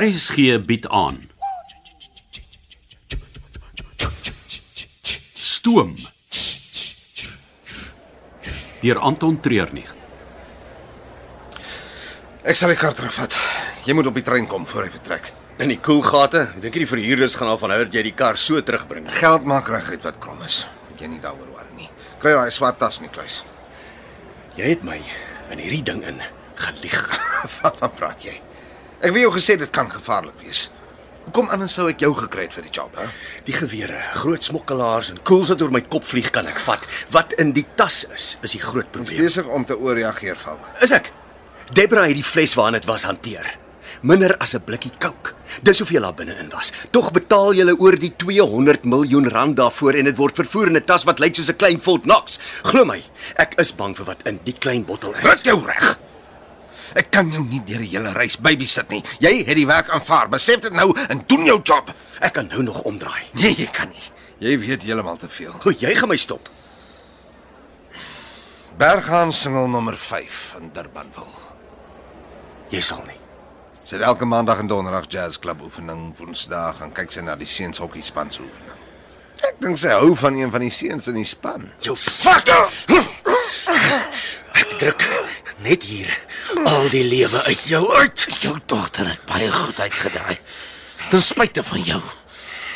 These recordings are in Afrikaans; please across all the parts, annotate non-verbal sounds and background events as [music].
RSG bied aan. Stoom. Deur Anton Treurnig. Ek sal die kar terugvat. Jy moet op die trein kom voor hy vertrek. In die koelgate, ek dink nie die verhuurders gaan af van hou dat jy die kar so terugbring. nie. Geld maak reguit wat krom is. Moet jy nie daaroor worry nie. Kry daai swart tas in die kluis. [laughs] Jy het my in hierdie ding in gelieg. Wat van praat jy? Ek het jou gesê dit kan gevaarlik wees. Hoekom anders sou ek jou gekry het vir die job, hè? [laughs] Die gewere, groot smokkelaars en koels wat oor my kop vlieg kan ek vat. Wat in die tas is, is die groot Ons probleem. besig om te ooreageer, Valk. Is ek? Debra het die fles waarin dit was hanteer. Minder as 'n blikkie kook. Dis hoeveel daar binne-in was. Tog betaal jy oor die 200 miljoen rand daarvoor en dit word vervoer in 'n tas wat lyk soos 'n klein Fort Knox. Glo my, ek is bang vir wat in die klein bottel is. Ruk jou reg. Ek kan jou nie deur die hele reis baby sit nie. Jy het die werk aanvaar. Besef dit nou en doen jou job. Ek kan nou nog omdraai. Nee, jy kan nie. Jy weet heeltemal te veel. O, jy gaan my stop. Berghaan singel nommer 5 in Durbanville. Jy sal nie. Sy het elke maandag en donderdag jazzklub oefening, woensdae gaan kyk sy na die seuns hokkie span se oefening. Ek dink sy hou van een van die seuns in die span. Jou fuck. Ek druk net hier al die lewe uit jou uit. Jou dogter het baie goed uitgedraai. Ten spyte van jou.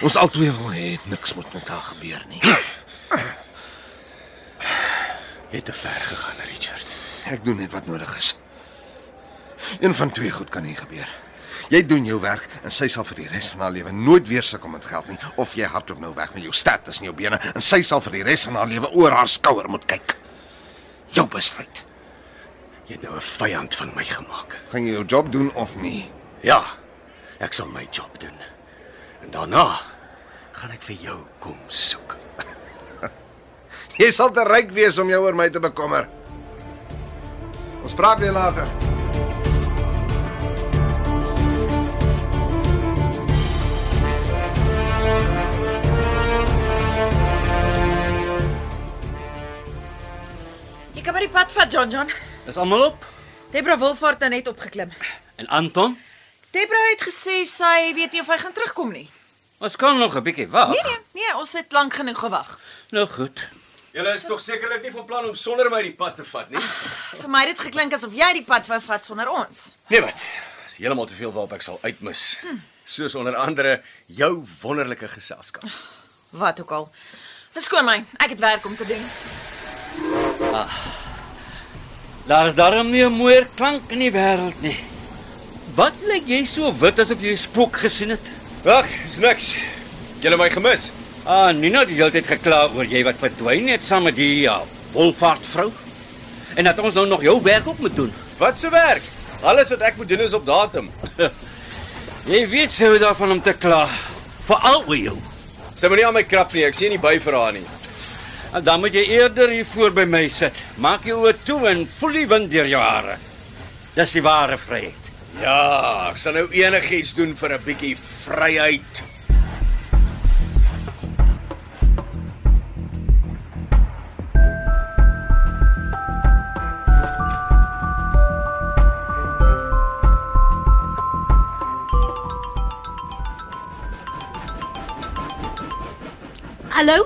Ons albei wil hê niks moet met haar gebeur nie. Jy het te ver gegaan, Richard. Ek doen net wat nodig is. Een van twee goed kan nie gebeur. Jy doen jou werk en sy sal vir die res van haar lewe nooit weer sukkel met geld nie of jy hardloop nou weg met jou stert tussen jou bene en sy sal vir die res van haar lewe oor haar skouer moet kyk. Jou besluit. Jy het nou 'n vyand van my gemaak. Gaan jy jou job doen of nie? Ja. Ek sal my job doen. En daarna gaan ek vir jou kom soek. Jy sal te ryk wees om jou oor my te bekommer. Ons praat weer later. Jy kan maar die pad vat, John John. Is almal op? Debra Wilfort het net opgeklim. En Anton? Debra het gesê sy weet nie of hy gaan terugkom nie. Ons kan nog 'n bietjie wag. Nee nee, nee, ons het lank genoeg gewag. Nou goed. nee. Julle is tog sekerlik nie van plan om sonder my die pad te vat nie. Vir my het dit geklink asof jy die pad wou vat sonder ons. Nee wat? Dis heeltemal te veel waarop ek sal uitmis. Soos onder andere jou wonderlike geselskap. Wat ook al. Verskoon my, ek het werk om te doen. Daar is darm nie 'n mooier klank in die wêreld nie. Wat lyk jy so wit asof jy 'n spook gesien het? Wag, is niks. Julle my gemis. Ah, Nina het die hele tyd gekla oor jy wat verdwyn het saam met die ja, wolvaart vrou. En dat ons nou nog jou werk op moet doen. Wat se werk? Alles wat ek moet doen is op datum. [laughs] Jy weet sou daarvan om te kla. Veral oor jou. Sy moenie aan my krap nie. Ek sien nie by vir haar nie. En Ah, Dan moet jy eerder hier voor by my sit. Maak jou oë toe en voel die wind deur jou hare. Dis die ware vryheid. Ja, ek sal nou enigiets doen vir 'n bietjie vryheid. Hallo,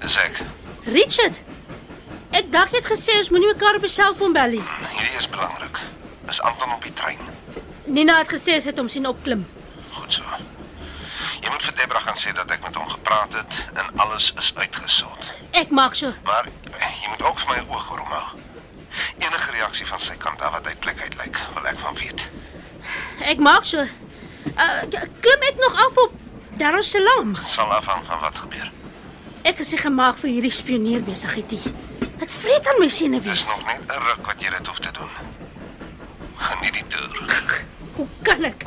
Dis ek. Richard. Ek dink jy het gesê ons moenie mekaar op die selfoon bel nie. Hierdie is belangrik. Is Anton op die trein? Nina het gesê sy het hom sien opklim. Goed so. Jy moet vir Debra gaan sê dat ek met hom gepraat het en alles is uitgesort. Ek maak so. Maar eh, jy moet ook vir my oog oor hom hou. Enige reaksie van sy kant af wat uit plek uit lyk, wil ek van weet. Ek maak so. Uh, k- klim ek nog af op Dar es Salaam. Sal afhang van wat gebeur. Ek is nie gemaak vir hierdie spioneerbesigheidie. Dit vreet aan my Dis senuwees. nog net 'n ruk wat jy dit hoef te doen. Geniet die toer. Hoe kan ek?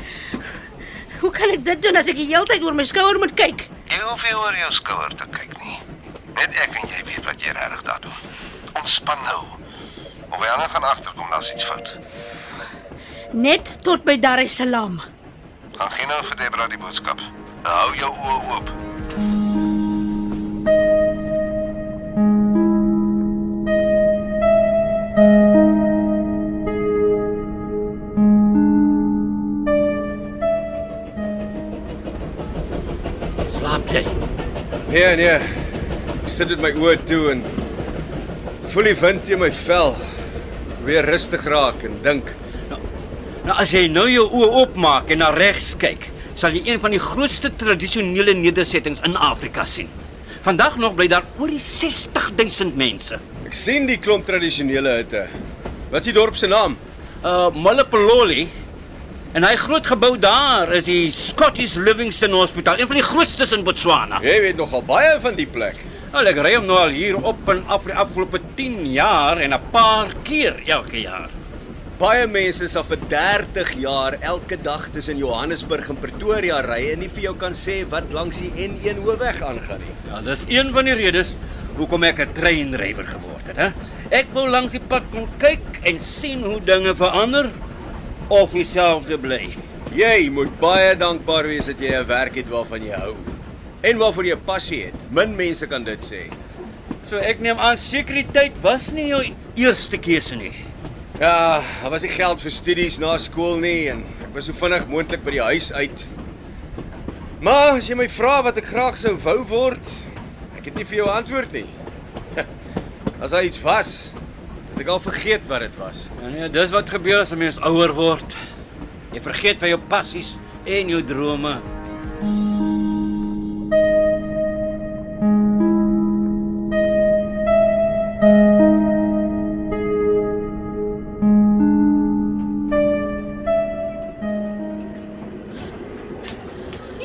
Hoe kan ek dit doen as ek die hele tyd oor my skouer moet kyk? Jy hoef nie oor jou skouer te kyk nie. Net ek en jy weet wat jy regtig daar doen. Ontspan nou. Of jy ander gaan agterkom daar's iets fout. Net tot by Dar es Salaam. Dan gee nou vir Debra die boodskap. En hou jou oë oop. slaap jy. Nee, nee. Ek Sit dit my oë toe en voel die wind teen my vel. Weer rustig raak en dink. Nou as jy nou jou oë oopmaak en na regs kyk, sal jy een van die grootste tradisionele nedersettings in Afrika sien. Vandag nog bly daar oor die 60000 mense. Ek sien die klomp tradisionele hutte. Wat is die dorp se naam? Uh Malapololi en hy groot gebou daar is die Scottish Livingston Hospital, een van die grootstes in Botswana. Jy weet nogal baie van die plek. Al ek ry hom nou al hier op en af vir die afgelope 10 jaar en 'n paar keer elke jaar. Baie mense sal vir 30 jaar elke dag tussen Johannesburg en Pretoria ry en nie vir jou kan sê wat langs die N1 hoofweg aangaan nie. Ja, dis een van die redes hoekom ek 'n treinrywer geword het, hè. Ek wou langs die pad kon kyk en sien hoe dinge verander of dieselfde bly. Jy moet baie dankbaar wees dat jy 'n werk het waarvan jy hou en waarvoor jy 'n passie het. Min mense kan dit sê. So ek neem aan sekuriteit was nie jou eerste keuse nie. Ja, daar was nie geld vir studies na skool nie en ek was so vinnig moontlik by die huis uit. Maar as jy my vra wat ek graag sou wou word, ek het nie vir jou antwoord nie. [laughs] As daar iets was, het ek al vergeet wat dit was. Ja, nee, dis wat gebeur as 'n mens ouer word. Jy vergeet van jou passies en jou drome.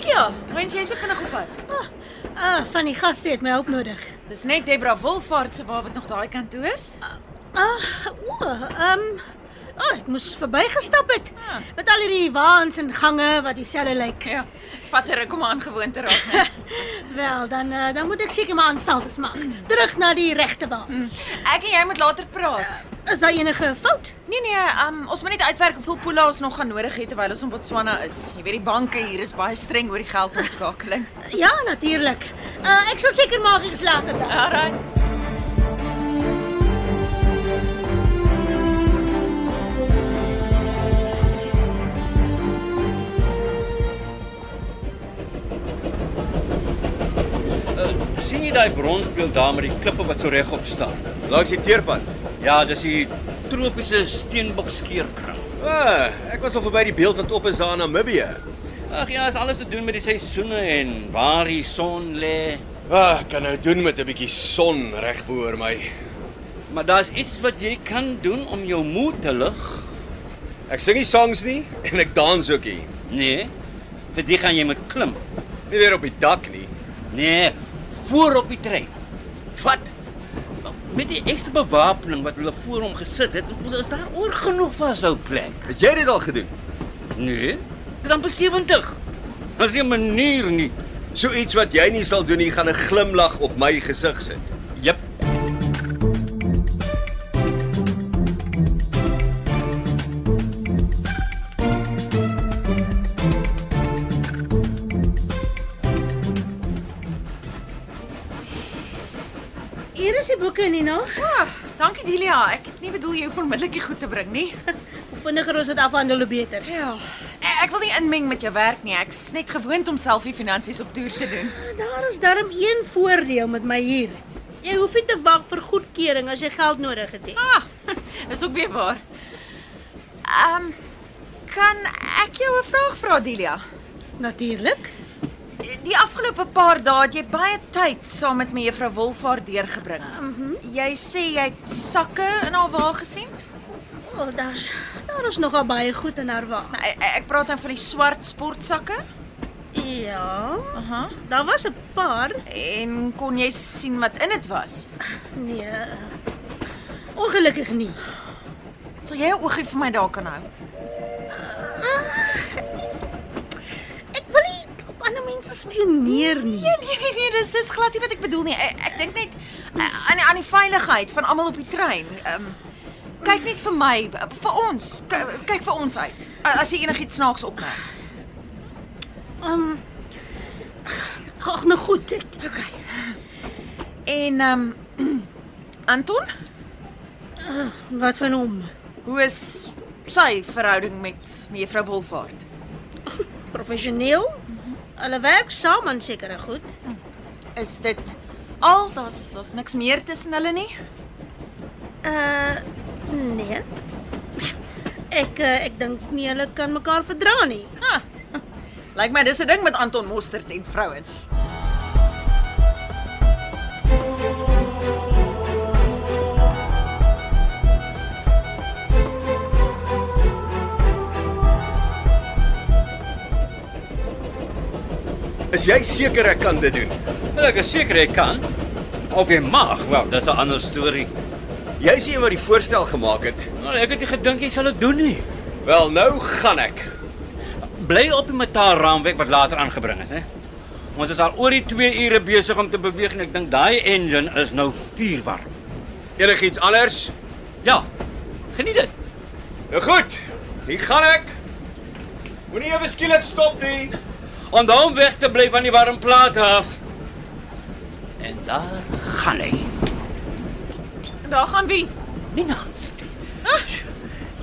Ja, mens jy's so vinnig op pad. Ah, van die gaste het my hulp nodig. Dis net Debra Wolfhard se wa wat nog daai kant toe is. Ah, o, ehm Ah, ek moes verbygestap het met al hierdie waans en gange wat dieselfde lyk. Ja, vat 'n ruk om aan gewoon te raak. né? Wel, dan eh, dan moet ek seker my aanstaltes maak. Terug na die regte waans. [laughs] Ek en jy moet later praat. Is daar enige fout? Nee nee, um, ons moet net uitwerk hoeveel poela ons nog gaan nodig hê terwyl ons in Botswana is. Jy weet die banke hier is baie streng oor die geldomskakeling. Ja, natuurlik. Uh, ek sal seker maak ek's later daar. Alraai. sien jy daai bronsbeeld daar met die klippe wat so regop staan? Langs die teerpad. Ja, dis die tropiese steenbokskeerkrag. Ah, ek was al verby die beeld wat op is daar in Namibië. Ag ja, is alles te doen met die seisoene en waar die son lê. Ah, ek kan nou doen met 'n bietjie son reg boor my. Maar daar's iets wat jy kan doen om jou moed te lig. Ek sing nie songs nie [laughs] en ek dans ook nie. Nee. Vir dit gaan jy moet klim. Nie weer op die dak nie. Nee, voor op die trein. Wat? Met die ekstra bewapening wat hulle voor hom gesit het, ons is daar oor genoeg vir so 'n plek. Het jy dit al gedoen? Nee, dit is amper 70. Ons nie 'n manier nie. So iets wat jy nie sal doen nie, gaan 'n glimlag op my gesig sit. Jep. Hier is die boeke in die nou. Ah, dankie Delia. Ek het nie bedoel jy hoef onmiddellik die goed te bring nie. Hoe vinniger ons dit afhandel hoe beter. Ja. Ek, ek wil nie inmeng met jou werk nie. Ek's net gewoond om self die finansies op toer te doen. Ja, Daar is darm een voordeel met my hier. Jy hoef nie te wag vir goedkeuring as jy geld nodig het nie. Ah, [laughs] is ook weer waar. Ehm um, kan ek jou 'n vraag vra Delia? Natuurlik. Die afgelope paar dae het jy baie tyd saam met me juffrou Wolfaart deurgebring. Mm -hmm. Jy sê jy het sakke in haar wa gesien? O, oh, daar's daar is nogal baie goed in haar wa. Nou, Ek, ek praat dan van die swart sportsakke. Ja, Aha. daar was 'n paar. En kon jy sien wat in dit was? Nee. eh, Ongelukkig nie. Sal jy 'n oogie vir my daar kan hou? Ek wil nie op ander mense spioneer nie. Nee nee nee, nee dis dis glad nie wat ek bedoel nie. Ek, ek dink net eh, aan die- aan die veiligheid van almal op die trein. Ehm um, kyk net vir my, eh, vir ons. Kyk, kyk vir ons uit. A- As jy enigiets snaaks opmerk. Ehm um, Ag, nou goed. Ek, En ehm [clears throat] um, Anton, wat van hom? hoe is sy verhouding met mevrou Wolfhard? Professioneel? Hulle werk saam aan sekere goed. Is dit al? Daar's daar's niks meer tussen hulle nie. Uh nee. Ek eh, ek dink nie hulle kan mekaar verdra nie. Ha. Lyk my dis 'n ding met Anton Mostert en vrouens. Is jy seker ek kan dit doen? Wel, ek is seker jy kan. Of jy mag, wel, dis 'n ander storie. Jy is die een wat die voorstel gemaak het. Nou, ek het nie gedink jy sal dit doen nie. Wel, nou gaan ek. Bly op die metaalraamwerk wat later aangebring is, hè. Ons is al oor die 2 ure besig om te beweeg en ek dink daai engine is nou vuurwarm. Enigiets anders? Ja. Geniet dit. Nou goed. Hier gaan ek. Moenie ewe skielik stop nie. Onthou om weg te bly van die warm plaat af. En daar gaan hy. En daar gaan wie? Nina.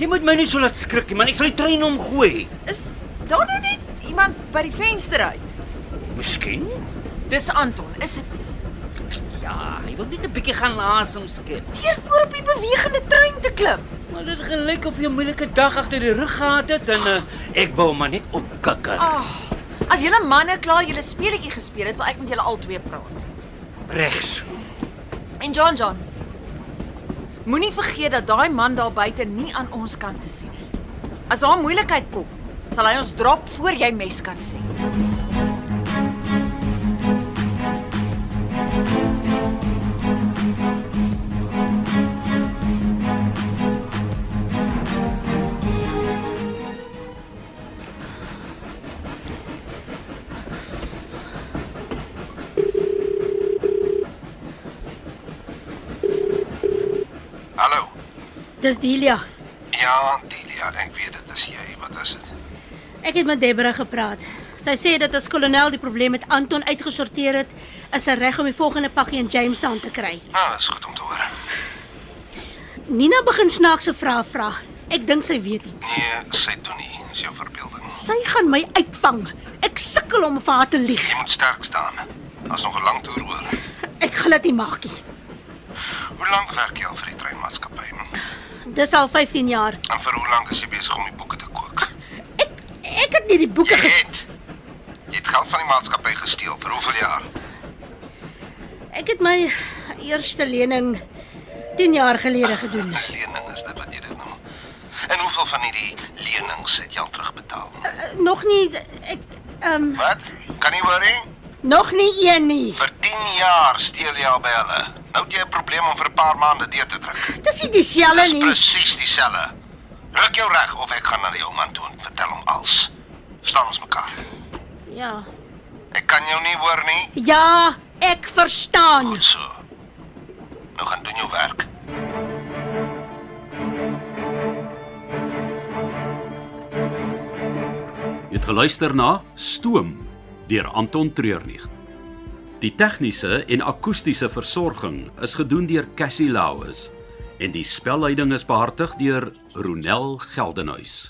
Jy moet my nie so laat skrik nie, man. Ek sal die trein omgooi. Is daar nou net iemand by die venster uit? Miskien? Dis Anton. Is dit Ja, hy wil net 'n bietjie gaan asem skep. teer voor op die bewegende trein te klim? Maar dit gelyk of jy 'n moeilike dag agter die rug gehad het en uh, ek wou maar net opkikker. Ag, Ah, as julle manne klaar julle speletjie gespeel het, wil ek met julle albei praat. Regs. En John John. Moenie vergeet dat daai man daar buite nie aan ons kant is nie. As daar moeilikheid kom, sal hy ons drop voor jy mes kan sien. Hallo. Dis Delia. Ja, Delia, ek weet dit is jy. Wat is dit? Ek het met Debra gepraat. Sy sê dat as kolonel die probleem met Anton uitgesorteer het, is sy reg om die volgende pakkie in Jamestown te kry. Ah, dis goed om te hoor. Nina begin snaakse vrae vra. Ek dink sy weet iets. Nee, sy doen nie. Dis jou verbeelding. Sy gaan my uitvang. Ek sukkel om vir haar te lieg. Jy moet sterk staan. Daar's nog 'n lang toer oor. Ek glad nie maakie. Hoe lank werk jy al vir die treinmaatskappy? En Dis al 15 jaar. vir hoe lank is jy besig om die boeke te kook? Ek ek het hierdie boeke Jy ge het jy het geld van die maatskappy gesteel vir hoeveel jaar? Ek het my eerste lening 10 jaar gelede gedoen. Lening is dit wat jy dit noem. En hoeveel van hierdie lenings het jy al terugbetaal? Eh, Nog nie ek ehm um, Wat? Kan nie worry. nog nie een nie. Vir 10 jaar steel jy al by hulle. Nou het jy 'n probleem om vir 'n paar maande deur te druk. Dis nie dieselfde Dis nie. presies dieselfde. Ruk jou reg of ek gaan na die ou man toe en vertel hom als. Verstaan ons mekaar? Ja. Ek kan jou nie hoor nie. Ja, ek verstaan. Goed so. Nou gaan doen jou werk. Jy het geluister na Stoom deur Anton Treurnig. Die tegniese en akoestiese versorging is gedoen deur Cassie Lauis en die spelleiding is behartig deur Ronel Geldenhuys.